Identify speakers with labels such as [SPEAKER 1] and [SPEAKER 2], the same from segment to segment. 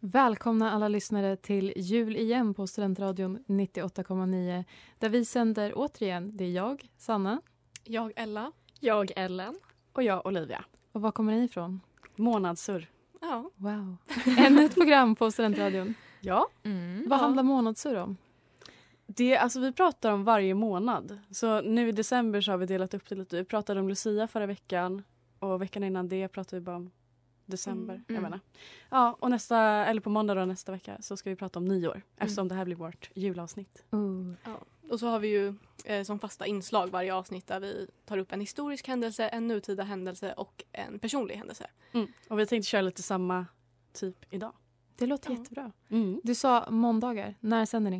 [SPEAKER 1] Välkomna alla lyssnare till jul igen på Studentradion 98,9 där vi sänder återigen. Det är jag, Sanna.
[SPEAKER 2] Jag Ella.
[SPEAKER 3] Jag Ellen.
[SPEAKER 2] Och jag Olivia.
[SPEAKER 1] Och var kommer ni ifrån?
[SPEAKER 3] Månadssurr.
[SPEAKER 2] Ja.
[SPEAKER 1] Wow. Ännu ett program på Studentradion.
[SPEAKER 3] Ja.
[SPEAKER 1] Vad handlar månadssurr om?
[SPEAKER 3] Det, alltså, vi pratar om varje månad. Så nu i december så har vi delat upp det lite. Vi pratade om Lucia förra veckan och veckan innan det pratade vi bara om december.
[SPEAKER 2] Mm.
[SPEAKER 3] Jag
[SPEAKER 2] Mm.
[SPEAKER 3] menar. Ja, och nästa, eller på måndag då, nästa vecka så ska vi prata om nyår
[SPEAKER 2] Mm.
[SPEAKER 3] eftersom det här blir vårt julavsnitt.
[SPEAKER 1] Oh.
[SPEAKER 2] Och så har vi ju eh, som fasta inslag varje avsnitt där vi tar upp en historisk händelse, en nutida händelse och en personlig händelse.
[SPEAKER 3] Mm. Och vi tänkte köra lite samma typ idag.
[SPEAKER 1] Det låter
[SPEAKER 2] Ja.
[SPEAKER 1] jättebra.
[SPEAKER 3] Mm.
[SPEAKER 1] Du sa måndagar. När sänder ni?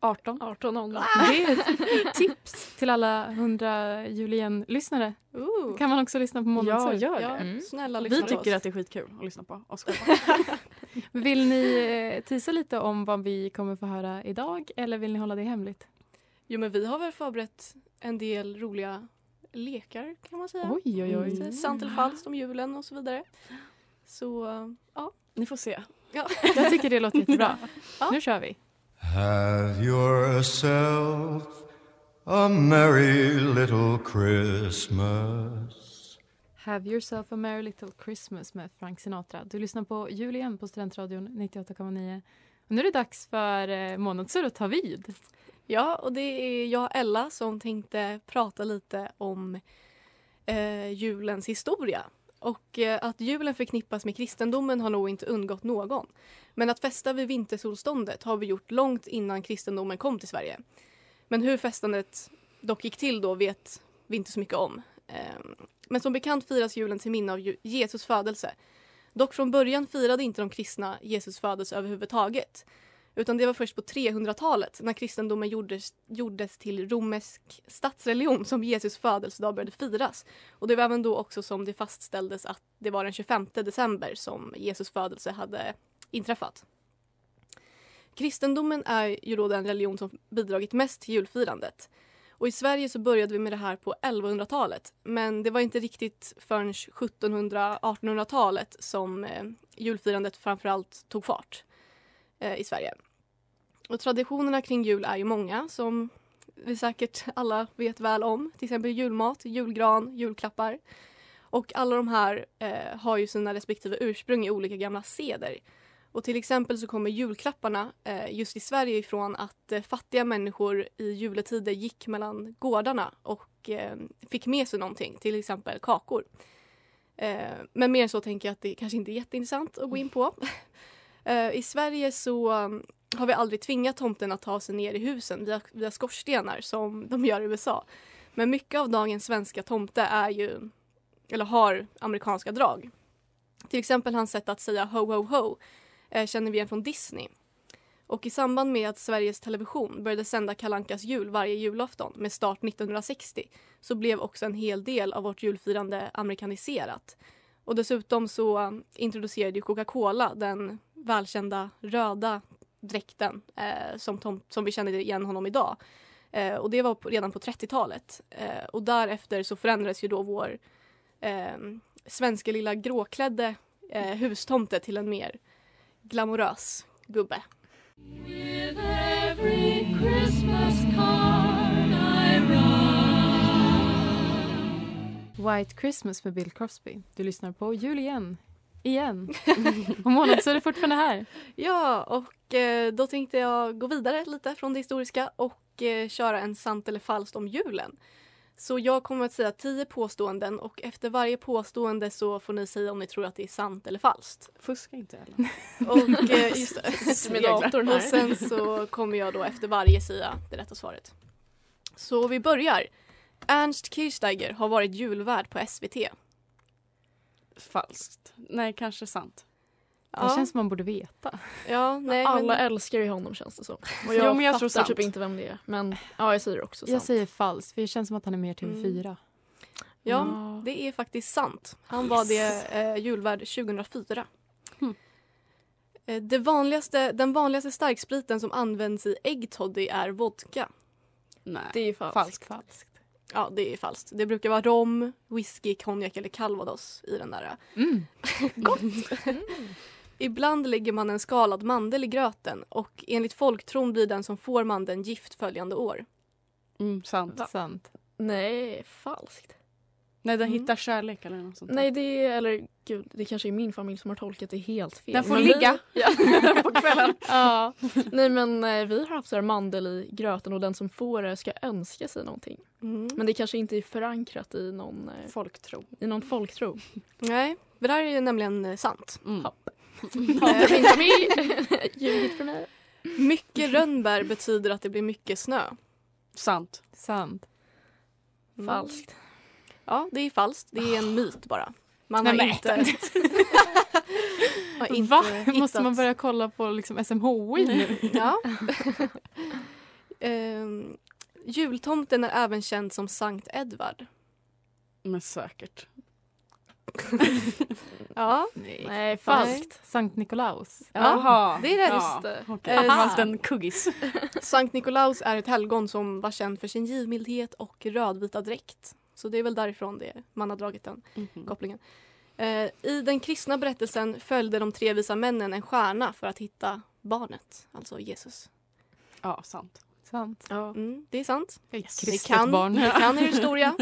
[SPEAKER 1] Ah!
[SPEAKER 3] 18.
[SPEAKER 2] 18.00.
[SPEAKER 1] Det är ett tips till alla 100 jul igen-lyssnare.
[SPEAKER 2] Ooh.
[SPEAKER 1] Kan man också lyssna på
[SPEAKER 3] Ja,
[SPEAKER 1] månadssurr?
[SPEAKER 3] gör det.
[SPEAKER 2] Ja, snälla
[SPEAKER 3] Vi
[SPEAKER 2] lyssna på
[SPEAKER 3] tycker
[SPEAKER 2] oss.
[SPEAKER 3] att det är skitkul att lyssna på oss själva.
[SPEAKER 1] Vill ni eh, tisa lite om vad vi kommer få höra idag eller vill ni hålla det hemligt?
[SPEAKER 2] Jo men vi har väl förberett en del roliga lekar kan man säga.
[SPEAKER 1] Oj, oj,
[SPEAKER 3] Mm,
[SPEAKER 1] oj.
[SPEAKER 2] Så Sant eller falskt om julen och så vidare. Så eh, ja.
[SPEAKER 3] Ni får se.
[SPEAKER 2] ja.
[SPEAKER 1] Jag tycker det låter jättebra. Nu kör vi.
[SPEAKER 4] Have yourself a merry little Christmas.
[SPEAKER 1] Have yourself a merry little Christmas med Frank Sinatra. Du lyssnar på Jul igen på Studentradion 98,9. Och Nu är det dags för eh, månadsur att ta vid.
[SPEAKER 2] Ja, och det är jag Ella som tänkte prata lite om eh, julens historia. Och eh, att julen förknippas med kristendomen har nog inte undgått någon. Men att festa vid vintersolståndet har vi gjort långt innan kristendomen kom till Sverige. Men hur festandet dock gick till då vet vi inte så mycket om. Ehm, men som bekant firas julen till minne av Ju- Jesus födelse. Dock från början firade inte de kristna Jesus födelse överhuvudtaget. Utan det var först på 300-talet när kristendomen gjordes, gjordes till romersk statsreligion som Jesus födelsedag började firas. Och det var även då också som det fastställdes att det var den 25 december som Jesus födelse hade inträffat. Kristendomen är ju då den religion som bidragit mest till julfirandet. Och i Sverige så började vi med det här på 1100-talet men det var inte riktigt förrän 1700-1800-talet som eh, julfirandet framförallt tog fart eh, i Sverige. Och traditionerna kring jul är ju många som vi säkert alla vet väl om. Till exempel julmat, julgran, julklappar. Och alla de här eh, har ju sina respektive ursprung i olika gamla seder. Och till exempel så kommer julklapparna eh, just i Sverige ifrån att eh, fattiga människor i juletider gick mellan gårdarna och eh, fick med sig någonting, till exempel kakor. Eh, men mer än så tänker jag att det kanske inte är jätteintressant att gå in på. Eh, I Sverige så um, har vi aldrig tvingat tomten att ta sig ner i husen via, via skorstenar som de gör i USA. Men mycket av dagens svenska tomte är ju, eller har amerikanska drag. Till exempel hans sätt att säga ho ho ho eh, känner vi igen från Disney. Och i samband med att Sveriges Television började sända Kalankas jul varje julafton med start 1960 så blev också en hel del av vårt julfirande amerikaniserat. Och dessutom så eh, introducerade ju Coca-Cola den välkända röda dräkten eh, som, Tom, som vi känner igen honom idag. Eh, och det var på, redan på 30-talet. Eh, och därefter så förändrades ju då vår eh, svenska lilla gråklädde eh, hustomte till en mer glamorös gubbe.
[SPEAKER 5] With every Christmas card I write.
[SPEAKER 1] White Christmas med Bill Crosby. Du lyssnar på Jul igen. Igen. Och månad så är det fortfarande här.
[SPEAKER 2] Ja, och eh, då tänkte jag gå vidare lite från det historiska och eh, köra en sant eller falskt om julen. Så jag kommer att säga tio påståenden och efter varje påstående så får ni säga om ni tror att det är sant eller falskt.
[SPEAKER 3] Fuska inte Ellen.
[SPEAKER 2] Och eh, just det,
[SPEAKER 3] Med datorn här.
[SPEAKER 2] Och sen så kommer jag då efter varje säga det rätta svaret. Så vi börjar. Ernst Kirchsteiger har varit julvärd på SVT.
[SPEAKER 3] Falskt. Nej, kanske sant.
[SPEAKER 1] Det känns som man borde veta.
[SPEAKER 2] ja, nej, men-
[SPEAKER 6] Alla älskar ju honom känns det som. Och
[SPEAKER 1] Jo,
[SPEAKER 6] jag,
[SPEAKER 1] men jag tror
[SPEAKER 6] fattar
[SPEAKER 1] sant.
[SPEAKER 6] typ inte vem det är. Men ja, jag säger också sant.
[SPEAKER 1] Jag säger falskt, för det känns som att han är mer TV4.
[SPEAKER 2] Ja,
[SPEAKER 1] Ja.
[SPEAKER 2] det är faktiskt sant. Han var det eh, julvärd 2004. Eh, det vanligaste, den vanligaste starkspriten som används i äggtoddy är vodka.
[SPEAKER 3] Nej.
[SPEAKER 6] Det är falskt.
[SPEAKER 3] Falskt.
[SPEAKER 2] Ja, det är falskt. Det brukar vara rom, whisky, konjak eller calvados i den där.
[SPEAKER 3] Mm,
[SPEAKER 2] Gott! Ibland lägger man en skalad mandel i gröten och enligt folktron blir den som får mandeln gift följande år.
[SPEAKER 3] Mm, sant.
[SPEAKER 1] Sant.
[SPEAKER 6] Nej, falskt.
[SPEAKER 3] Nej, den
[SPEAKER 2] Mm.
[SPEAKER 3] hittar kärlek eller något sånt. där.
[SPEAKER 6] Nej, det är, eller gud, det kanske är min familj som har tolkat det helt fel.
[SPEAKER 3] Den får
[SPEAKER 6] vi-
[SPEAKER 3] ligga.
[SPEAKER 6] Ja, på kvällen. ja. Nej, men eh, vi har haft så här mandel i gröten och den som får det ska önska sig någonting.
[SPEAKER 2] Mm.
[SPEAKER 6] Men det kanske inte är förankrat i någon, eh,
[SPEAKER 3] Folktro.
[SPEAKER 6] i någon folktro.
[SPEAKER 2] Nej, det där är ju nämligen eh, sant.
[SPEAKER 3] Mm.
[SPEAKER 6] Hatar
[SPEAKER 2] Eh,
[SPEAKER 6] min familj. Ljugit för mig.
[SPEAKER 2] Mycket rönnbär betyder att det blir mycket snö.
[SPEAKER 3] Sant.
[SPEAKER 1] Sant.
[SPEAKER 2] Mm.
[SPEAKER 6] Falskt.
[SPEAKER 2] Ja, det är falskt. Det är
[SPEAKER 6] Ah.
[SPEAKER 2] en myt bara. Man
[SPEAKER 1] Nej,
[SPEAKER 2] har
[SPEAKER 1] men-
[SPEAKER 2] inte... har inte
[SPEAKER 1] Va?
[SPEAKER 2] hittat-
[SPEAKER 1] Måste man börja kolla på liksom SMHI nu?
[SPEAKER 2] Ja. Ehm, jultomten är även känd som Sankt Edvard.
[SPEAKER 3] Men säkert.
[SPEAKER 2] Ja,
[SPEAKER 1] Nej.
[SPEAKER 6] Nej,
[SPEAKER 1] Falskt. Sankt Nikolaus.
[SPEAKER 3] Jaha.
[SPEAKER 2] det är rätt.
[SPEAKER 3] Ja.
[SPEAKER 6] Just
[SPEAKER 3] Okej,
[SPEAKER 2] Eh,
[SPEAKER 3] det var en liten kuggis.
[SPEAKER 2] Sankt Nikolaus är ett helgon som var känd för sin givmildhet och rödvita dräkt. Så det är väl därifrån det, man har dragit den kopplingen. Eh, I den kristna berättelsen följde de tre visa männen en stjärna för att hitta barnet, alltså Jesus.
[SPEAKER 3] Ja, sant.
[SPEAKER 1] Sant.
[SPEAKER 6] Ja.
[SPEAKER 2] Mm, det är sant.
[SPEAKER 1] Kristet
[SPEAKER 2] kan-
[SPEAKER 1] barn.
[SPEAKER 2] Ni kan er historia.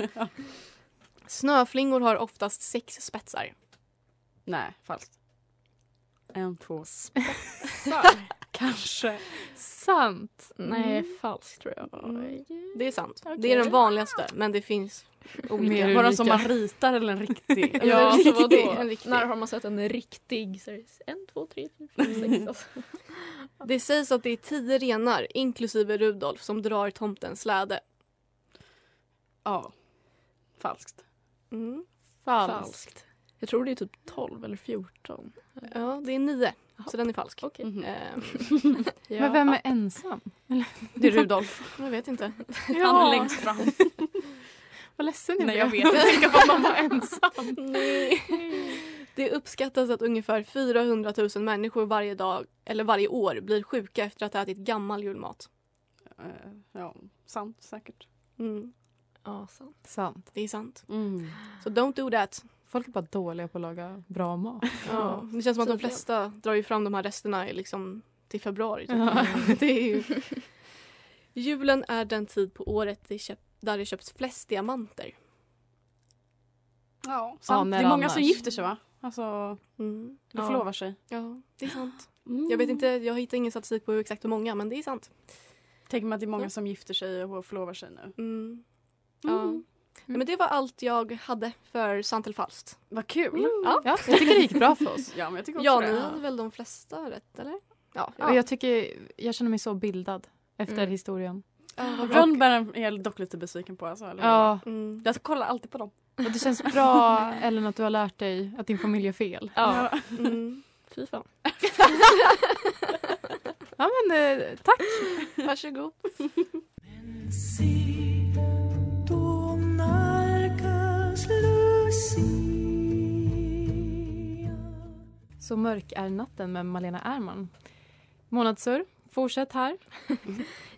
[SPEAKER 2] Snöflingor har oftast sex spetsar.
[SPEAKER 3] Nej, falskt. En, två. Kanske.
[SPEAKER 1] Sant.
[SPEAKER 6] Nej, falskt tror jag.
[SPEAKER 2] Mm. Det är sant. Det är den
[SPEAKER 6] Okej.
[SPEAKER 2] vanligaste, men det finns olika.
[SPEAKER 1] Mer
[SPEAKER 3] Var
[SPEAKER 1] unika.
[SPEAKER 3] de som man ritar eller en riktig?
[SPEAKER 2] Ja,
[SPEAKER 6] Ja, alltså
[SPEAKER 2] riktig.
[SPEAKER 6] vadå?
[SPEAKER 2] En riktig.
[SPEAKER 6] När har man sett en riktig? Så är det en, två, tre, fyra, fem, sex. Alltså.
[SPEAKER 2] Det sägs att det är tio renar, inklusive Rudolf, som drar tomtens släde.
[SPEAKER 3] Ja. Falskt.
[SPEAKER 2] Mm.
[SPEAKER 1] Falskt.
[SPEAKER 6] Falskt. Jag tror det är typ 12 eller 14.
[SPEAKER 2] Ja, det är nio, så den är falsk.
[SPEAKER 6] Okej.
[SPEAKER 3] Mhm.
[SPEAKER 2] Ehm,
[SPEAKER 6] Ja.
[SPEAKER 1] Men vem är ensam?
[SPEAKER 2] det är Rudolf. Jag vet inte.
[SPEAKER 3] Han är längst fram.
[SPEAKER 1] Vad ledsen jag
[SPEAKER 3] Nej, jag
[SPEAKER 1] blev.
[SPEAKER 3] vet
[SPEAKER 1] Tänk om man var ensam.
[SPEAKER 2] Nej. Det uppskattas att ungefär 400 000 människor varje dag, eller varje år, blir sjuka efter att ha ätit gammal julmat.
[SPEAKER 3] Eh, Ja, sant säkert.
[SPEAKER 2] Mm.
[SPEAKER 6] Ja, sant.
[SPEAKER 1] Sant.
[SPEAKER 2] Det är sant.
[SPEAKER 3] Mm.
[SPEAKER 2] Så don't do that.
[SPEAKER 1] Folk är bara dåliga på att laga bra mat.
[SPEAKER 2] Ja. Det känns som att de
[SPEAKER 6] Tydligen.
[SPEAKER 2] flesta drar ju fram de här resterna i liksom till februari. Typ.
[SPEAKER 1] Ja.
[SPEAKER 2] Det är ju... Julen är den tid på året det köp... där det köps flest diamanter.
[SPEAKER 3] Ja, sant.
[SPEAKER 1] när
[SPEAKER 3] det är många
[SPEAKER 1] annars?
[SPEAKER 3] som gifter sig va? Alltså,
[SPEAKER 2] Mm.
[SPEAKER 3] de förlovar sig.
[SPEAKER 2] Ja, det är sant. Jag vet inte, jag hittar ingen statistik på hur exakt hur många, men det är sant.
[SPEAKER 3] Tänk mig att det är många som gifter sig och förlovar sig nu.
[SPEAKER 2] Mm. Ja. Nej, men det var allt jag hade för sant eller falskt.
[SPEAKER 3] Vad kul!
[SPEAKER 2] Ja.
[SPEAKER 1] Ja, jag tycker det gick bra för oss.
[SPEAKER 3] Mm. Ja, men jag tycker också
[SPEAKER 2] Ja, ni hade
[SPEAKER 3] det.
[SPEAKER 2] väl de flesta rätt, eller? Ja.
[SPEAKER 1] Och jag, tycker, jag känner mig så bildad efter
[SPEAKER 6] Mm.
[SPEAKER 1] historien.
[SPEAKER 2] Ja, vad bra.
[SPEAKER 3] Rönnbären är jag dock lite besviken på. Alltså, eller?
[SPEAKER 1] Ja,
[SPEAKER 2] Mm.
[SPEAKER 3] Jag kollar alltid på dem.
[SPEAKER 1] och det känns bra Ellen att du har lärt dig att din familj är fel.
[SPEAKER 6] Ja.
[SPEAKER 2] Mm.
[SPEAKER 6] Fy fan.
[SPEAKER 1] Ja men eh, tack.
[SPEAKER 2] Varsågod.
[SPEAKER 5] Då nalkas Lucy
[SPEAKER 7] Så mörk är natten med Malena Ernman. Månadsur, fortsätt här.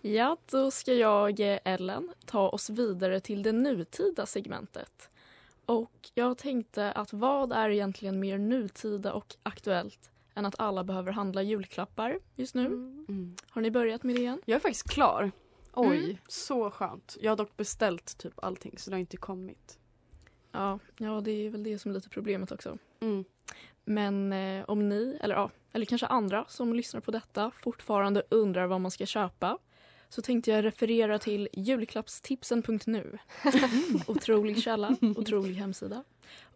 [SPEAKER 1] Ja, då ska jag, eh, Ellen, ta oss vidare till det nutida segmentet. Och jag tänkte att vad är egentligen mer nutida och aktuellt än att alla behöver handla julklappar just nu? Har ni börjat med det igen?
[SPEAKER 3] Jag är faktiskt klar. Oj,
[SPEAKER 1] Mm.
[SPEAKER 3] så skönt. Jag har dock beställt typ allting så det har inte kommit.
[SPEAKER 1] Ja, ja, det är väl det som är lite problemet också.
[SPEAKER 3] Mm.
[SPEAKER 1] Men eh, om ni, eller, ja, eller kanske andra som lyssnar på detta fortfarande undrar vad man ska köpa så tänkte jag referera till julklappstipsen.nu. otrolig källa, otrolig hemsida.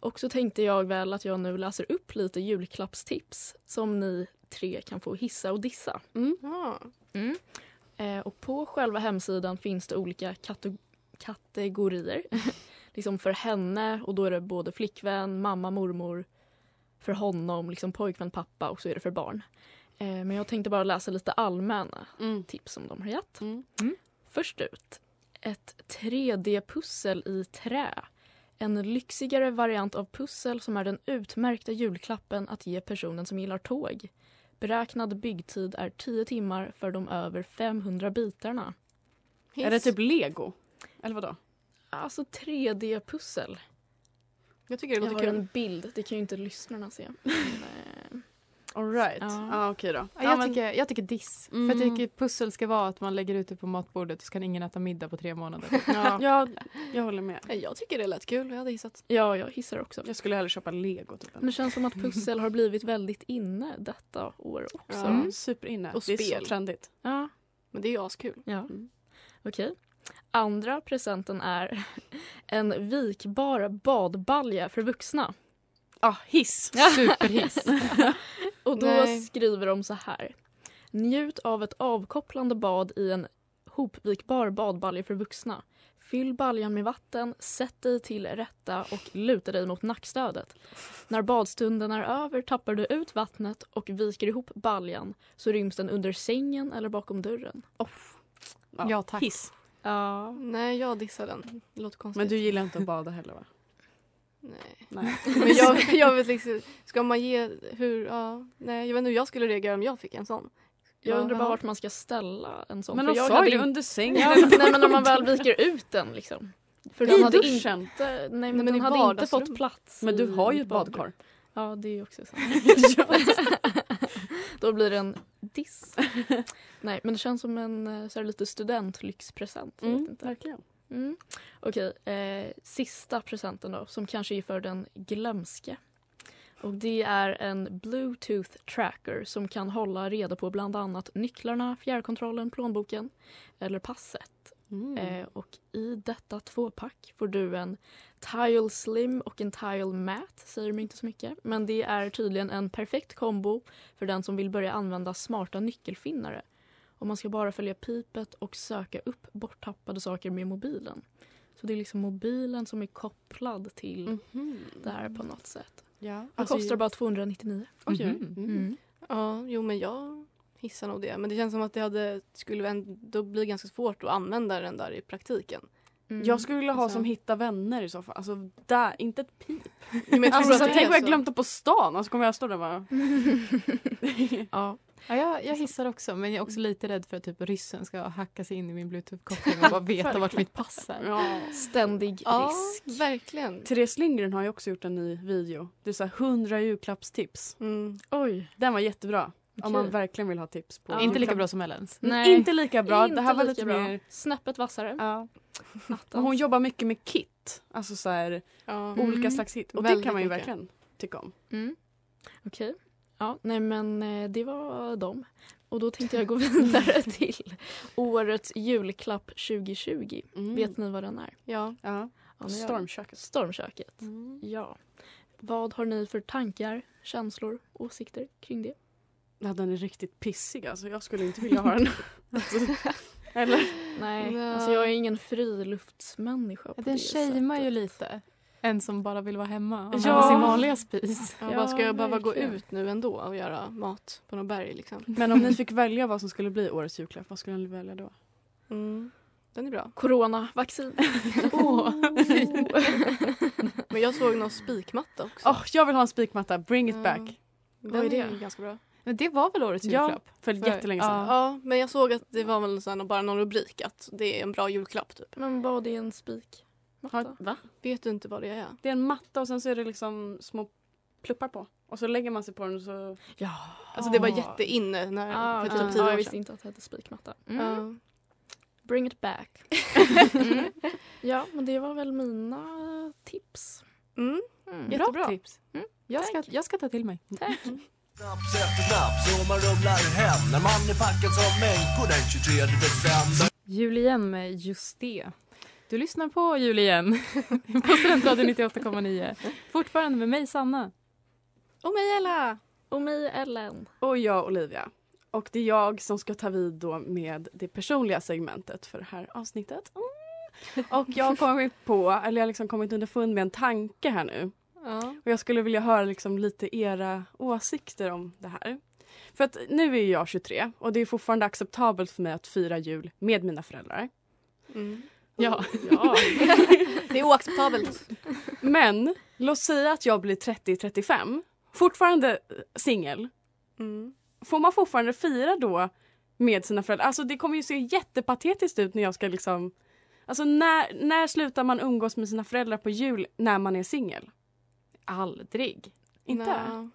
[SPEAKER 1] Och så tänkte jag väl att jag nu läser upp lite julklappstips som ni tre kan få hissa och dissa. Mm. Eh, och på själva hemsidan finns det olika kate- kategorier. liksom för henne, och då är det både flickvän, mamma, mormor. För honom, liksom pojkvän, pappa och så är det för barn. Eh, men jag tänkte bara läsa lite allmänna
[SPEAKER 2] Mm.
[SPEAKER 1] tips som de har gett. Mm. Först ut, ett 3D-pussel i trä. En lyxigare variant av pussel som är den utmärkta julklappen att ge personen som gillar tåg. Beräknad byggtid är 10 timmar för de över 500 bitarna.
[SPEAKER 3] Är det typ lego? Eller vadå?
[SPEAKER 1] Alltså 3D-pussel.
[SPEAKER 2] Jag tycker det
[SPEAKER 1] Jag
[SPEAKER 2] låter
[SPEAKER 1] har
[SPEAKER 2] kul.
[SPEAKER 1] en bild, det kan ju inte lyssnarna se.
[SPEAKER 3] Alright.
[SPEAKER 1] Ja.
[SPEAKER 3] Ja, ah, okej då.
[SPEAKER 7] Ja, jag,
[SPEAKER 3] men-
[SPEAKER 7] tycker, jag tycker diss. För
[SPEAKER 3] Mm.
[SPEAKER 7] jag tycker pussel ska vara att man lägger ut det på matbordet och så kan ingen äta middag på tre månader.
[SPEAKER 1] Ja.
[SPEAKER 3] ja, jag håller med.
[SPEAKER 2] Jag tycker det lät kul. Jag hade hissat.
[SPEAKER 1] eh, Ja, jag hissar också.
[SPEAKER 3] Jag skulle hellre köpa lego typ.
[SPEAKER 1] Men det känns som att pussel har blivit väldigt inne detta år också.
[SPEAKER 3] Ja, Superinne.
[SPEAKER 1] Och
[SPEAKER 3] det är
[SPEAKER 1] spel.
[SPEAKER 3] så trendigt.
[SPEAKER 1] Ja.
[SPEAKER 2] Men det är ju askul.
[SPEAKER 1] Ja.
[SPEAKER 7] Mm.
[SPEAKER 1] Okej. Andra presenten är en vikbar badbalja för vuxna.
[SPEAKER 3] Ja, ah, hiss.
[SPEAKER 1] Superhiss. Och då
[SPEAKER 2] Nej.
[SPEAKER 1] skriver de så här. Njut av ett avkopplande bad i en hopvikbar badbalja för vuxna. Fyll baljan med vatten, sätt dig till rätta och luta dig mot nackstödet. När badstunden är över tappar du ut vattnet och viker ihop baljan så ryms den under sängen eller bakom dörren. Oh.
[SPEAKER 3] Ja,
[SPEAKER 7] Ja, tack.
[SPEAKER 3] Hiss.
[SPEAKER 1] Ja.
[SPEAKER 2] Nej, jag dissar den. Det låter konstigt.
[SPEAKER 3] Men du gillar inte att bada heller va?
[SPEAKER 2] Nej.
[SPEAKER 3] Nej.
[SPEAKER 2] Men jag, jag vet liksom, ska man ge hur, ja, nej jag vet inte hur jag skulle reagera om jag fick en sån.
[SPEAKER 1] Jag undrar bara
[SPEAKER 2] Ja.
[SPEAKER 1] vart man ska ställa en sån.
[SPEAKER 3] Men
[SPEAKER 1] för
[SPEAKER 3] de
[SPEAKER 1] jag
[SPEAKER 3] sa
[SPEAKER 1] hade
[SPEAKER 3] ju
[SPEAKER 1] in-
[SPEAKER 3] under sängen.
[SPEAKER 1] Ja, nej men om man väl viker ut den liksom. För
[SPEAKER 3] I
[SPEAKER 1] den hade
[SPEAKER 3] duschen?
[SPEAKER 1] inte, nej men,
[SPEAKER 2] men i
[SPEAKER 1] den hade inte
[SPEAKER 2] vardagsrummet.
[SPEAKER 1] fått plats.
[SPEAKER 3] Men du
[SPEAKER 1] i
[SPEAKER 3] har ju
[SPEAKER 1] mitt
[SPEAKER 3] ett badkar.
[SPEAKER 1] Ja det är ju också sant. Då blir det en diss. Nej men det känns som en eh, så här, lite studentlyxpresent. jag vet
[SPEAKER 3] Mm,
[SPEAKER 1] inte.
[SPEAKER 3] verkligen.
[SPEAKER 1] Mm. Okej, eh, sista presenten då som kanske är för den glömske. Och det är en bluetooth tracker som kan hålla reda på bland annat nycklarna, fjärrkontrollen, plånboken eller passet. Eh, och i detta tvåpack får du en Tile Slim och en Tile Matte, säger de inte så mycket. Men det är tydligen en perfekt kombo för den som vill börja använda smarta nyckelfinnare. Och man ska bara följa pipet och söka upp borttappade saker med mobilen. Så det är liksom mobilen som är kopplad till
[SPEAKER 2] Mm.
[SPEAKER 1] det här på något sätt.
[SPEAKER 3] Ja.
[SPEAKER 1] Det
[SPEAKER 3] Alltså,
[SPEAKER 1] kostar bara 299.
[SPEAKER 3] Oj, oj.
[SPEAKER 7] Mhm.
[SPEAKER 3] Mm.
[SPEAKER 2] Ja, jo men jag hissar nog det. Men det känns som att det hade, skulle ändå bli ganska svårt att använda den där i praktiken.
[SPEAKER 3] Jag skulle vilja ha
[SPEAKER 2] Alltså-
[SPEAKER 3] som hitta vänner i så fall. Alltså där, inte ett pip.
[SPEAKER 2] Men jag tror
[SPEAKER 3] Alltså,
[SPEAKER 2] att det
[SPEAKER 3] tänk
[SPEAKER 2] är
[SPEAKER 3] om jag
[SPEAKER 2] så.
[SPEAKER 3] glömt det på stan och så kommer jag stå där och bara...
[SPEAKER 1] Ja.
[SPEAKER 7] Ja, jag, jag hissar också, men jag är också
[SPEAKER 3] Mm.
[SPEAKER 7] lite rädd för att typ ryssen ska hacka sig in i min bluetooth-koppling och bara veta vart mitt pass är.
[SPEAKER 3] Ja.
[SPEAKER 1] Ständig
[SPEAKER 2] Ja,
[SPEAKER 1] risk.
[SPEAKER 2] verkligen.
[SPEAKER 3] Therese Lindgren har ju också gjort en ny video. Det är så här 100 julklappstips.
[SPEAKER 2] Mm.
[SPEAKER 1] Oj.
[SPEAKER 3] Den var jättebra.
[SPEAKER 1] Okej.
[SPEAKER 3] Om man verkligen vill ha tips på
[SPEAKER 1] Ja.
[SPEAKER 7] Inte lika bra som Ellens.
[SPEAKER 1] Nej.
[SPEAKER 3] Mm, Inte lika bra.
[SPEAKER 1] Inte
[SPEAKER 3] det här var
[SPEAKER 1] lika
[SPEAKER 3] lite
[SPEAKER 1] bra.
[SPEAKER 3] mer...
[SPEAKER 1] Snäppet vassare.
[SPEAKER 3] Ja.
[SPEAKER 1] Attans.
[SPEAKER 3] Men hon jobbar mycket med kit. Alltså så här,
[SPEAKER 2] Ja.
[SPEAKER 3] olika slags hit. Och det
[SPEAKER 2] Mm. Väldigt
[SPEAKER 3] kan man ju
[SPEAKER 2] mycket.
[SPEAKER 3] verkligen tycka om.
[SPEAKER 1] Mm. Okej. Ja, nej men eh, det var dem. Och då tänkte jag gå vidare till årets julklapp 2020.
[SPEAKER 3] Mm.
[SPEAKER 1] Vet ni vad den är?
[SPEAKER 2] Ja.
[SPEAKER 3] Ja.
[SPEAKER 1] Ja, ni gör det.
[SPEAKER 3] Stormköket. Mm.
[SPEAKER 1] Stormköket. Ja. Vad har ni för tankar, känslor, åsikter kring det?
[SPEAKER 3] Ja, den är riktigt pissig alltså. Jag skulle inte vilja ha den. alltså, eller?
[SPEAKER 1] Nej,
[SPEAKER 2] Nja.
[SPEAKER 1] alltså jag är ingen friluftsmänniska på
[SPEAKER 7] Den
[SPEAKER 1] det
[SPEAKER 7] shamear ju
[SPEAKER 1] sättet.
[SPEAKER 7] lite. En som bara vill vara hemma och
[SPEAKER 3] Ja.
[SPEAKER 7] ja. sin vanliga spis.
[SPEAKER 2] Ja, bara, ska
[SPEAKER 1] Ja,
[SPEAKER 2] jag behöva
[SPEAKER 1] verkligen.
[SPEAKER 2] gå ut nu ändå och göra mat på något berg liksom?
[SPEAKER 3] Men om ni fick välja vad som skulle bli årets julklapp, vad skulle ni välja då?
[SPEAKER 2] Mm. Den är bra.
[SPEAKER 1] Coronavaccin.
[SPEAKER 2] Åh. Men jag såg någon spikmatta också.
[SPEAKER 3] Åh, jag vill ha en spikmatta. Bring it
[SPEAKER 2] Ja.
[SPEAKER 3] back.
[SPEAKER 2] Den
[SPEAKER 1] är
[SPEAKER 2] ju ganska bra.
[SPEAKER 1] Men det var väl årets
[SPEAKER 2] Ja,
[SPEAKER 1] julklapp? För, jättelänge sedan.
[SPEAKER 2] Ja. ja, men jag såg att det var väl sån, här- bara någon rubrik att det är en bra julklapp typ.
[SPEAKER 6] Men vad är en spik?
[SPEAKER 3] Har, va?
[SPEAKER 2] Vet du inte vad det är?
[SPEAKER 3] Det är en matta och sen så är det liksom små pluppar på. Och så lägger man sig på den och så...
[SPEAKER 6] Ja.
[SPEAKER 2] Alltså det var jätteinne när,
[SPEAKER 6] Ah,
[SPEAKER 2] för
[SPEAKER 6] okej.
[SPEAKER 2] typ tio
[SPEAKER 6] ja, jag
[SPEAKER 2] år
[SPEAKER 6] visste
[SPEAKER 2] sedan.
[SPEAKER 6] inte att det hette spikmatta.
[SPEAKER 2] Ja.
[SPEAKER 6] Mm. Bring it back. mm. Ja, men det var väl mina tips.
[SPEAKER 2] Mm.
[SPEAKER 1] Bra tips. Jag, ska, jag ska ta till mig. Mm.
[SPEAKER 8] Naps efter naps och man rumlar hem när man är packad som människor den 23 december.
[SPEAKER 1] Jul igen med just det. Du lyssnar på Jul igen på Studentradion 98,9. Fortfarande med mig, Sanna.
[SPEAKER 2] Och mig Ella.
[SPEAKER 6] Och mig Ellen.
[SPEAKER 3] Och jag Olivia. Och det är jag som ska ta vid då med det personliga segmentet för det här avsnittet. Mm. Och jag har kommit på, eller jag har liksom kommit underfund med en tanke här nu.
[SPEAKER 1] Ja.
[SPEAKER 3] Och jag skulle vilja höra liksom lite era åsikter om det här. För att nu är ju jag 23 och det är fortfarande acceptabelt för mig att fira jul med mina föräldrar.
[SPEAKER 2] Mm.
[SPEAKER 3] Ja.
[SPEAKER 2] det är oacceptabelt.
[SPEAKER 3] Men låt säga att jag blir 30-35, fortfarande eh, singel.
[SPEAKER 2] Mm.
[SPEAKER 3] Får man fortfarande fira då med sina föräldrar? Alltså det kommer ju se jättepatetiskt ut när jag ska liksom... Alltså när, när slutar man umgås med sina föräldrar på jul när man är singel? Aldrig. Inte?
[SPEAKER 2] Nej.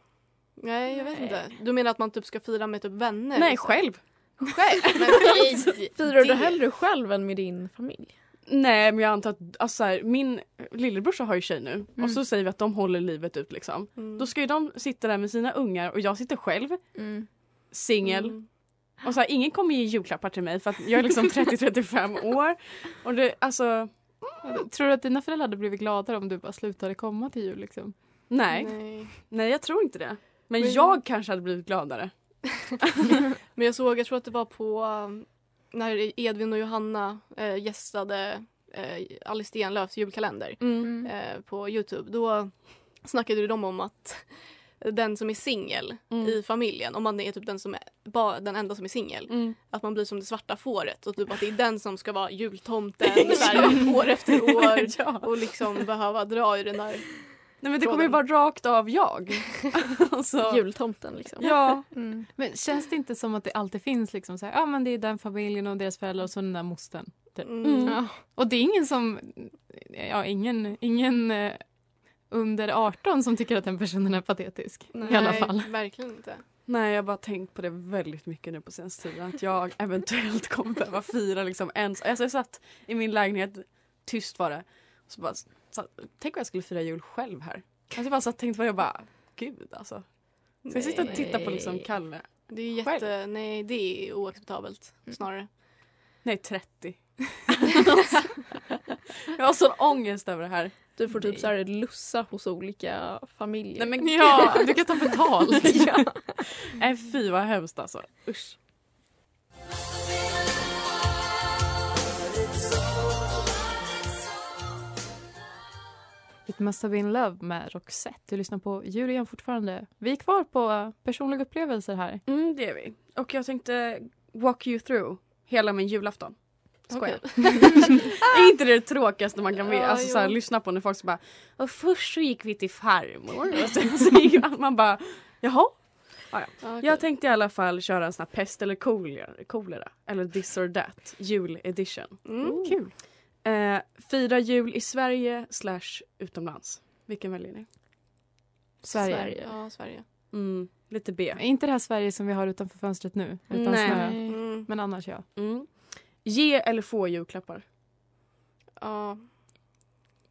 [SPEAKER 2] Nej, jag vet inte. Du menar att man typ ska fira med typ vänner?
[SPEAKER 3] Nej,
[SPEAKER 2] liksom?
[SPEAKER 3] själv.
[SPEAKER 2] Själv? Men Mm. nej,
[SPEAKER 6] Firar du
[SPEAKER 2] det-
[SPEAKER 6] hellre själv än med din familj?
[SPEAKER 3] Nej, men jag antar att alltså så här, min lillebrorsa har ju tjej nu
[SPEAKER 1] Mm.
[SPEAKER 3] och så säger vi att de håller livet ut liksom.
[SPEAKER 2] Mm.
[SPEAKER 3] Då ska ju de sitta där med sina ungar och jag sitter själv, singel.
[SPEAKER 1] Mm.
[SPEAKER 2] Mm.
[SPEAKER 3] Och så här, ingen kommer ge julklappar till mig för att jag är liksom 30-35 år. Och det, alltså,
[SPEAKER 1] Tror du att dina föräldrar hade blivit gladare om du bara slutade komma till jul? Liksom?
[SPEAKER 3] nej. nej.
[SPEAKER 2] Nej.
[SPEAKER 3] jag tror inte det. Men
[SPEAKER 2] Men-
[SPEAKER 3] jag kanske hade blivit gladare.
[SPEAKER 2] Men jag såg, jag tror att det var på um, när Edvin och Johanna eh, gästade eh, Alice Stenlöfs julkalender
[SPEAKER 3] Mm.
[SPEAKER 2] eh, på Youtube. Då snackade ju de om att den som är singel i familjen, om man är typ den, som är, bara den enda som är singel, att man blir som det svarta fåret och typ att det är den som ska vara jultomten så här, år efter år och liksom behöva dra i den där
[SPEAKER 3] Nej men det kommer ju vara rakt av jag. alltså,
[SPEAKER 6] Jultomten liksom.
[SPEAKER 3] Ja.
[SPEAKER 1] Men känns det inte som att det alltid finns liksom så här, ja men det är den familjen och deras föräldrar och så den där mosten. Typ.
[SPEAKER 2] Mm.
[SPEAKER 1] Ja. Och det är ingen som, ja ingen, ingen eh, under 18 som tycker att den personen är patetisk. I alla fall.
[SPEAKER 2] verkligen inte.
[SPEAKER 3] Nej, jag har bara tänkt på det väldigt mycket nu på senaste tiden. Att jag eventuellt kommer behöva fira liksom ens. Alltså jag satt i min lägenhet, tyst var det. Och så bara, satt, tänk om jag skulle fira jul själv här. Alltså jag bara satt och tänkte på det och bara, gud alltså. Så jag sitter och tittar på liksom
[SPEAKER 2] Nej.
[SPEAKER 3] Kalle.
[SPEAKER 2] Det är jätte, nej det är oacceptabelt
[SPEAKER 6] Mm.
[SPEAKER 2] snarare.
[SPEAKER 3] Nej, 30. jag har sån ångest över det här.
[SPEAKER 6] Du får typ så här lussa hos olika familjer.
[SPEAKER 3] Nej, men
[SPEAKER 1] Ja, du kan ta betalt.
[SPEAKER 3] ja. Nej fy vad hemskt alltså. Usch.
[SPEAKER 1] It must have been love med Roxette. Du lyssnar på Julian fortfarande. Vi är kvar på eh, personliga upplevelser här.
[SPEAKER 3] Mm, det är vi. Och jag tänkte walk you through hela min julafton. Skojar. är inte det det tråkigaste man kan
[SPEAKER 1] Ja,
[SPEAKER 3] med, alltså, så här,
[SPEAKER 1] jo.
[SPEAKER 3] lyssna på när folk så bara och först så gick vi till farmor och sen så gick man bara jaha. Ja, ja. Jag tänkte i alla fall köra en sån här pest eller kolera, kolera eller this or that jul edition.
[SPEAKER 1] Mm. Kul.
[SPEAKER 3] Eh, fira jul i Sverige slash utomlands. Vilken väljer ni?
[SPEAKER 1] Sverige.
[SPEAKER 2] Ja, Sverige.
[SPEAKER 3] Mm, lite B.
[SPEAKER 1] Är inte det här Sverige som vi har utanför fönstret nu? Utan
[SPEAKER 3] Nej.
[SPEAKER 1] snö.
[SPEAKER 2] Mm.
[SPEAKER 1] Men annars ja.
[SPEAKER 3] Mm. Ge eller få julklappar?
[SPEAKER 2] Ja.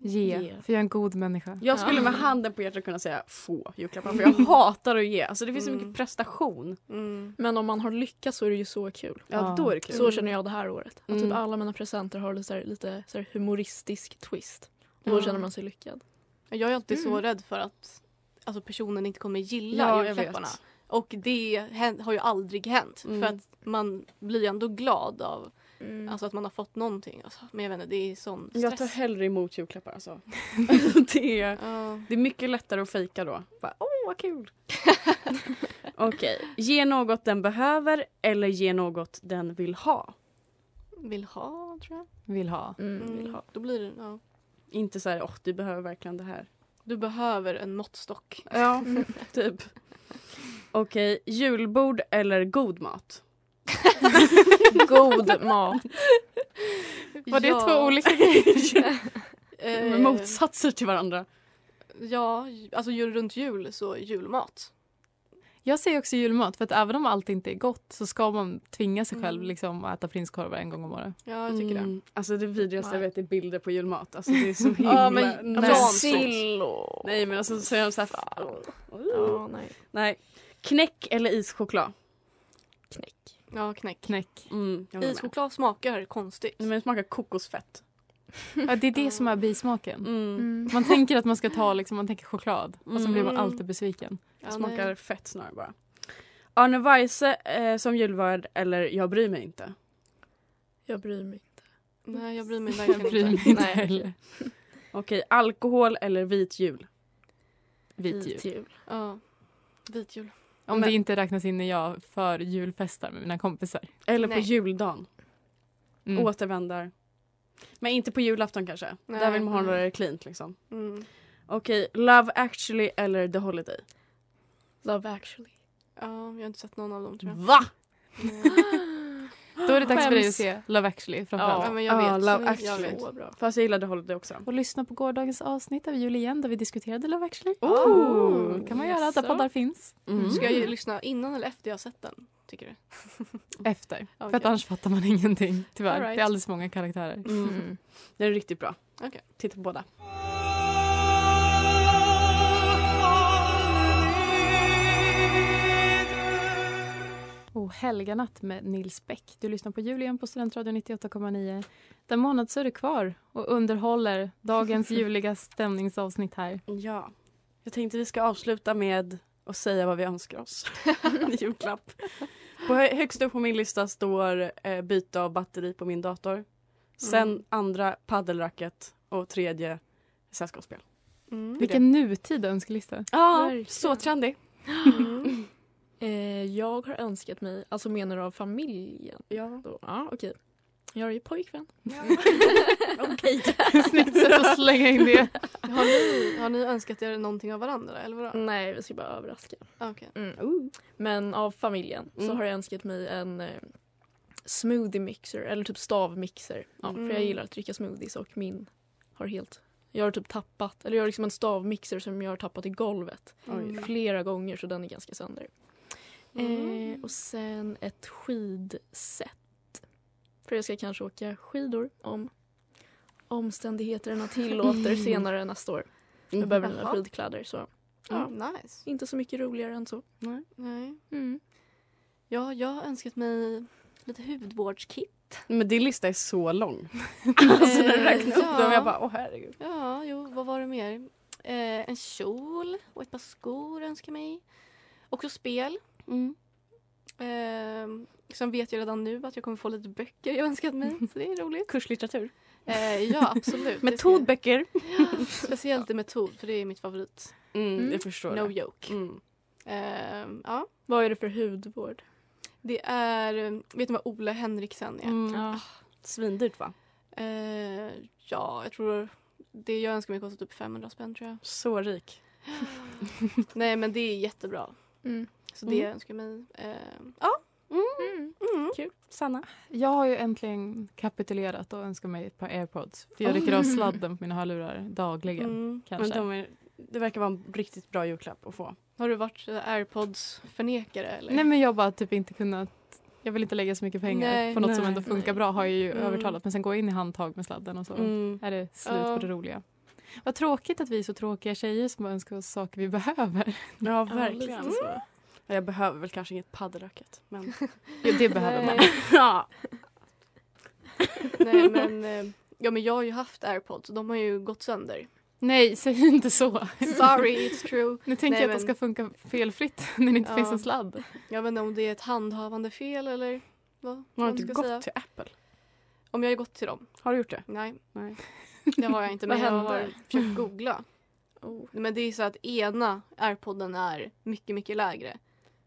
[SPEAKER 1] Ge,
[SPEAKER 3] Ge.
[SPEAKER 1] för jag är en god människa.
[SPEAKER 3] Jag skulle med handen på hjärtat kunna säga få julklappar för jag hatar att ge. Alltså det finns så mycket prestation.
[SPEAKER 2] Mm.
[SPEAKER 6] Men om man har lyckats så är det ju så kul.
[SPEAKER 3] Ja, Ja. då är det kul.
[SPEAKER 6] Så känner jag det här året. Att
[SPEAKER 3] Mm.
[SPEAKER 6] typ alla mina presenter har lite, så här, lite så här humoristisk twist. Då
[SPEAKER 2] Ja.
[SPEAKER 6] känner man sig lyckad.
[SPEAKER 2] Jag är alltid så
[SPEAKER 6] Mm.
[SPEAKER 2] rädd för att alltså, personen inte kommer gilla
[SPEAKER 6] Ja, jag
[SPEAKER 2] julklapparna.
[SPEAKER 6] vet.
[SPEAKER 2] Och det hän- har ju aldrig hänt.
[SPEAKER 6] Mm.
[SPEAKER 2] För att man blir ändå glad av
[SPEAKER 6] Mm.
[SPEAKER 2] alltså, att man har fått någonting. Alltså, men jag vet inte, det är sån stress.
[SPEAKER 3] Jag tar hellre emot julklappar alltså. det, är, det är mycket lättare att fejka då. Bara, Åh vad kul! Okej, ge något den behöver eller ge något den vill ha.
[SPEAKER 2] Vill ha, tror jag.
[SPEAKER 1] Vill ha.
[SPEAKER 2] Mm. Då blir det, ja.
[SPEAKER 3] Inte så här, åh du behöver verkligen det här.
[SPEAKER 2] Du behöver en måttstock.
[SPEAKER 3] Ja, typ. Okej, julbord eller god mat?
[SPEAKER 6] God mat.
[SPEAKER 3] Var det
[SPEAKER 2] Typ. Ja.
[SPEAKER 3] två olika grejer?
[SPEAKER 2] Eh,
[SPEAKER 3] Med motsatser till varandra.
[SPEAKER 2] Ja, alltså ju- runt jul så julmat.
[SPEAKER 1] Jag säger också julmat, för att även om allt inte är gott så ska man tvinga sig själv liksom, att äta prinskorvar en gång om året.
[SPEAKER 2] Ja, jag tycker
[SPEAKER 3] det. Alltså det vidrigaste jag vet är bilder på julmat. Alltså det är så
[SPEAKER 2] Mm.
[SPEAKER 3] himla...
[SPEAKER 1] Ja, men
[SPEAKER 3] Nej.
[SPEAKER 2] alltså,
[SPEAKER 6] sill
[SPEAKER 3] Nej men alltså så säger de så här...
[SPEAKER 6] Ja, nej.
[SPEAKER 3] Nej. Knäck eller ischoklad?
[SPEAKER 2] Ja, knäck.
[SPEAKER 1] Knäck.
[SPEAKER 3] Mm, jag håller med.
[SPEAKER 2] Ischoklad smakar konstigt.
[SPEAKER 3] Nej, men det smakar kokosfett.
[SPEAKER 1] Ja, det är det som är bismaken.
[SPEAKER 3] Mm.
[SPEAKER 1] Man tänker att man ska ta liksom, man tänker choklad och så
[SPEAKER 3] Mm.
[SPEAKER 1] blir man alltid besviken.
[SPEAKER 3] Det smakar fett snarare bara. Arne Weise eh, som julvärd eller Jag bryr mig inte?
[SPEAKER 6] Jag bryr mig inte.
[SPEAKER 2] Nej, jag bryr mig
[SPEAKER 3] Jag
[SPEAKER 2] verkligen
[SPEAKER 3] bryr mig inte heller. Okej, alkohol eller vit jul?
[SPEAKER 1] Vit jul.
[SPEAKER 2] Ja, vit jul.
[SPEAKER 1] Om
[SPEAKER 3] Men-
[SPEAKER 1] det inte räknas in när jag för julfestar med mina kompisar.
[SPEAKER 3] Eller på
[SPEAKER 2] Nej.
[SPEAKER 3] juldagen?
[SPEAKER 1] Mm.
[SPEAKER 3] Återvändar. Men inte på julafton kanske?
[SPEAKER 2] Nej.
[SPEAKER 3] Där vill man ha
[SPEAKER 2] Mm.
[SPEAKER 3] några cleant liksom.
[SPEAKER 2] Mm.
[SPEAKER 3] Okej, Love actually eller The Holiday?
[SPEAKER 6] Love actually.
[SPEAKER 2] Ja, jag har inte sett någon av dem tror jag.
[SPEAKER 3] Va?
[SPEAKER 1] Då är det dags för dig att se Love actually framförallt.
[SPEAKER 2] Ja, men jag vet.
[SPEAKER 3] Love
[SPEAKER 2] Jag
[SPEAKER 3] actually.
[SPEAKER 2] vet.
[SPEAKER 6] Så bra.
[SPEAKER 3] Fast jag gillade The Holiday också.
[SPEAKER 1] Och lyssna på gårdagens avsnitt av Jul igen där vi diskuterade Love actually.
[SPEAKER 3] Oh.
[SPEAKER 1] kan man göra där
[SPEAKER 2] Jaså.
[SPEAKER 1] poddar finns.
[SPEAKER 3] Mm.
[SPEAKER 2] Ska jag ju lyssna innan eller efter jag har sett den? Tycker du?
[SPEAKER 1] Efter. För att
[SPEAKER 2] Okej.
[SPEAKER 1] annars fattar man ingenting. Tyvärr.
[SPEAKER 2] All right.
[SPEAKER 1] Det är alldeles för många karaktärer.
[SPEAKER 3] Mm. Den är riktigt bra.
[SPEAKER 2] Okej.
[SPEAKER 3] Titta på båda.
[SPEAKER 1] Och Helga natt med Nils Bäck. Du lyssnar på Jul igen på Studentradion 98,9. Den månad så är du kvar och underhåller dagens juliga stämningsavsnitt här.
[SPEAKER 3] Ja. Jag tänkte vi ska avsluta med att säga vad vi önskar oss i julklapp. På hö- högst upp på min lista står eh, byte av batteri på min dator. Sen
[SPEAKER 2] Mm.
[SPEAKER 3] andra paddelracket och tredje sällskapsspel.
[SPEAKER 2] Mm.
[SPEAKER 1] Vilken nutida önskelista.
[SPEAKER 3] Ja,
[SPEAKER 6] Verkligen.
[SPEAKER 3] så trendig.
[SPEAKER 2] Mm.
[SPEAKER 6] Eh, jag har önskat mig, alltså menar du av familjen?
[SPEAKER 3] Ja.
[SPEAKER 6] Då, ja, okej. Jag har ju pojkvän.
[SPEAKER 3] Mm. Okej.
[SPEAKER 1] Snyggt sätt att slänga in det.
[SPEAKER 2] Har, ni, har ni önskat er någonting av varandra eller vadå?
[SPEAKER 6] Nej, vi ska bara överraska. Mm,
[SPEAKER 2] Ah, Okej.
[SPEAKER 6] Men av familjen så
[SPEAKER 2] Mm.
[SPEAKER 6] har jag önskat mig en eh, smoothie mixer eller typ stavmixer. Ja, För jag
[SPEAKER 2] Mm.
[SPEAKER 6] gillar att dricka smoothies och min har helt... Jag har typ tappat, eller jag har liksom en stavmixer som jag har tappat i golvet
[SPEAKER 3] Oj då.
[SPEAKER 6] flera gånger så den är ganska sönder. Eh,
[SPEAKER 2] Mm.
[SPEAKER 6] och sen ett skidset. För jag ska kanske åka skidor om omständigheterna tillåter senare nästa år. Jag behöver nya
[SPEAKER 2] Jaha.
[SPEAKER 6] skidkläder så ja.
[SPEAKER 2] Mm, nice.
[SPEAKER 6] inte så mycket roligare än så.
[SPEAKER 2] Nej.
[SPEAKER 6] Mm.
[SPEAKER 2] Ja, jag har önskat mig lite hudvårdskit. Eh,
[SPEAKER 3] Men din lista är så lång. alltså när du räknar upp dem
[SPEAKER 2] ja.
[SPEAKER 3] jag bara åh herregud.
[SPEAKER 2] Ja, jo, vad var det mer? Eh, en kjol och ett par skor önskar mig. Också spel. Eh, sen vet jag redan nu att jag kommer få lite böcker jag önskat mig, så det är roligt.
[SPEAKER 3] Kurslitteratur.
[SPEAKER 2] Eh, ja, absolut. Det ska jag-
[SPEAKER 3] Metodböcker.
[SPEAKER 2] Speciellt det metod, för det är mitt favorit.
[SPEAKER 3] Mm,
[SPEAKER 6] Mm.
[SPEAKER 3] Jag förstår
[SPEAKER 2] No
[SPEAKER 3] det.
[SPEAKER 2] joke.
[SPEAKER 3] Mm.
[SPEAKER 2] Eh, ja,
[SPEAKER 6] Vad är det för hudvård?
[SPEAKER 2] det är... Vet ni vad Ola Henriksen är?
[SPEAKER 3] Mm.
[SPEAKER 6] Ja.
[SPEAKER 3] Svindyrt va?
[SPEAKER 2] Eh, ja, jag tror... Det jag önskar mig kostar typ 500 spänn tror jag.
[SPEAKER 3] Så rik.
[SPEAKER 2] Nej, men det är jättebra.
[SPEAKER 6] Mm.
[SPEAKER 2] Så det
[SPEAKER 3] Mm.
[SPEAKER 2] önskar jag mig. Eh, ja.
[SPEAKER 6] Mm.
[SPEAKER 2] Mm.
[SPEAKER 3] Sanna.
[SPEAKER 1] Jag har ju äntligen kapitulerat och önskar mig ett par airpods. För jag rycker av sladden på mina hörlurar dagligen.
[SPEAKER 2] Mm.
[SPEAKER 1] Kanske.
[SPEAKER 3] Men de är, det verkar vara en riktigt bra julklapp att få.
[SPEAKER 2] Har du varit eh, airpods-förnekare? Eller?
[SPEAKER 1] Nej men jag bara typ inte kunnat jag vill inte lägga så mycket pengar
[SPEAKER 2] Nej,
[SPEAKER 1] på något
[SPEAKER 3] nej, Mm.
[SPEAKER 1] som ändå funkar
[SPEAKER 6] nej.
[SPEAKER 1] bra har jag ju
[SPEAKER 2] Mm.
[SPEAKER 1] övertalat men sen går jag in i handtag med sladden och så är det slut
[SPEAKER 2] Ja.
[SPEAKER 1] på det roliga. Vad tråkigt att vi är så tråkiga tjejer som bara önskar oss saker vi behöver.
[SPEAKER 3] Ja,
[SPEAKER 6] Ja,
[SPEAKER 3] verkligen.
[SPEAKER 6] lite så.
[SPEAKER 3] Ja, Jag behöver väl kanske inget paddelracket. Men...
[SPEAKER 1] Jo, det behöver man.
[SPEAKER 2] Nej.
[SPEAKER 3] ja.
[SPEAKER 2] Nej, men, eh, ja, men jag har ju haft airpods och de har ju gått sönder.
[SPEAKER 1] Nej, säg inte så.
[SPEAKER 2] Sorry, it's true.
[SPEAKER 1] Nu tänker
[SPEAKER 2] Nej,
[SPEAKER 1] jag att de ska
[SPEAKER 2] men-
[SPEAKER 1] funka felfritt när det inte
[SPEAKER 2] Ja.
[SPEAKER 1] finns en sladd.
[SPEAKER 2] Jag vet inte om det är ett handhavande fel eller vad
[SPEAKER 3] Man har
[SPEAKER 2] man
[SPEAKER 3] inte
[SPEAKER 2] ska
[SPEAKER 3] gått
[SPEAKER 2] säga.
[SPEAKER 3] till Apple.
[SPEAKER 2] Om jag har gått till dem?
[SPEAKER 3] Har du gjort det?
[SPEAKER 2] Nej,
[SPEAKER 3] Nej.
[SPEAKER 2] det har jag inte. men
[SPEAKER 6] Vad
[SPEAKER 2] jag
[SPEAKER 6] hände?
[SPEAKER 2] har försökt googla.
[SPEAKER 6] Oh.
[SPEAKER 2] Men det är så att ena airpodden är mycket, mycket lägre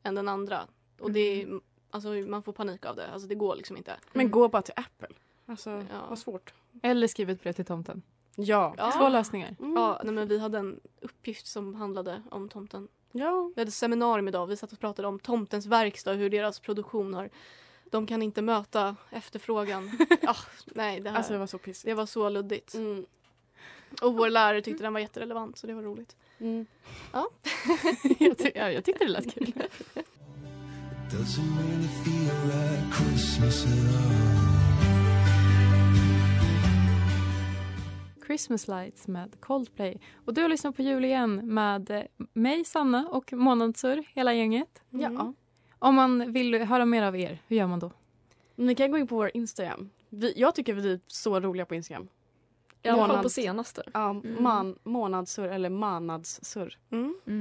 [SPEAKER 2] än den andra. Och det är, alltså, man får panik av det. Alltså det går liksom inte.
[SPEAKER 3] Mm. Men gå bara till Apple. Alltså,
[SPEAKER 2] Ja.
[SPEAKER 3] vad svårt.
[SPEAKER 1] Eller skriv ett brev till tomten.
[SPEAKER 3] Ja.
[SPEAKER 2] Ja. Mm.
[SPEAKER 1] Två lösningar.
[SPEAKER 2] Ja, nej, men vi hade en uppgift som handlade om tomten. Ja. Vi hade ett seminarium idag. Vi satt och pratade om tomtens verkstad och hur deras produktion har... De kan inte möta efterfrågan. ah, nej, det här...
[SPEAKER 3] Alltså, det var Mm. så pissigt.
[SPEAKER 2] Det var så luddigt. Och vår lärare
[SPEAKER 3] Mm.
[SPEAKER 2] tyckte den var jätterelevant så det var roligt. Ja.
[SPEAKER 3] jag, ty- ja, jag tyckte det lät kul.
[SPEAKER 4] Doesn't really feel like Christmas at all.
[SPEAKER 1] Christmas Lights med Coldplay. Och du har lyssnat på jul igen med eh, mig, Sanna och Månadsur, hela gänget.
[SPEAKER 2] Mm.
[SPEAKER 3] Ja.
[SPEAKER 1] Om man vill höra mer av er, hur gör man då?
[SPEAKER 3] Ni kan gå in på vår Instagram. Vi, jag tycker vi är typ så roliga på Instagram.
[SPEAKER 9] I alla fall
[SPEAKER 3] Månads-
[SPEAKER 9] på senaste.
[SPEAKER 3] Ja,
[SPEAKER 9] Mm.
[SPEAKER 3] man, månadssurr eller manadssurr.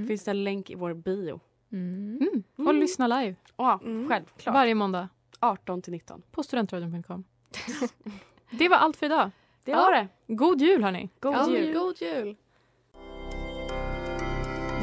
[SPEAKER 3] Finns det en länk i vår bio.
[SPEAKER 1] Mm. Och lyssna live.
[SPEAKER 3] Ja, självklart.
[SPEAKER 1] Varje måndag
[SPEAKER 3] 18 till 19.
[SPEAKER 1] på studentradion.com. det var allt för idag.
[SPEAKER 3] Det var det.
[SPEAKER 1] God jul, hörni.
[SPEAKER 3] God
[SPEAKER 2] Ja,
[SPEAKER 3] jul.
[SPEAKER 2] God jul!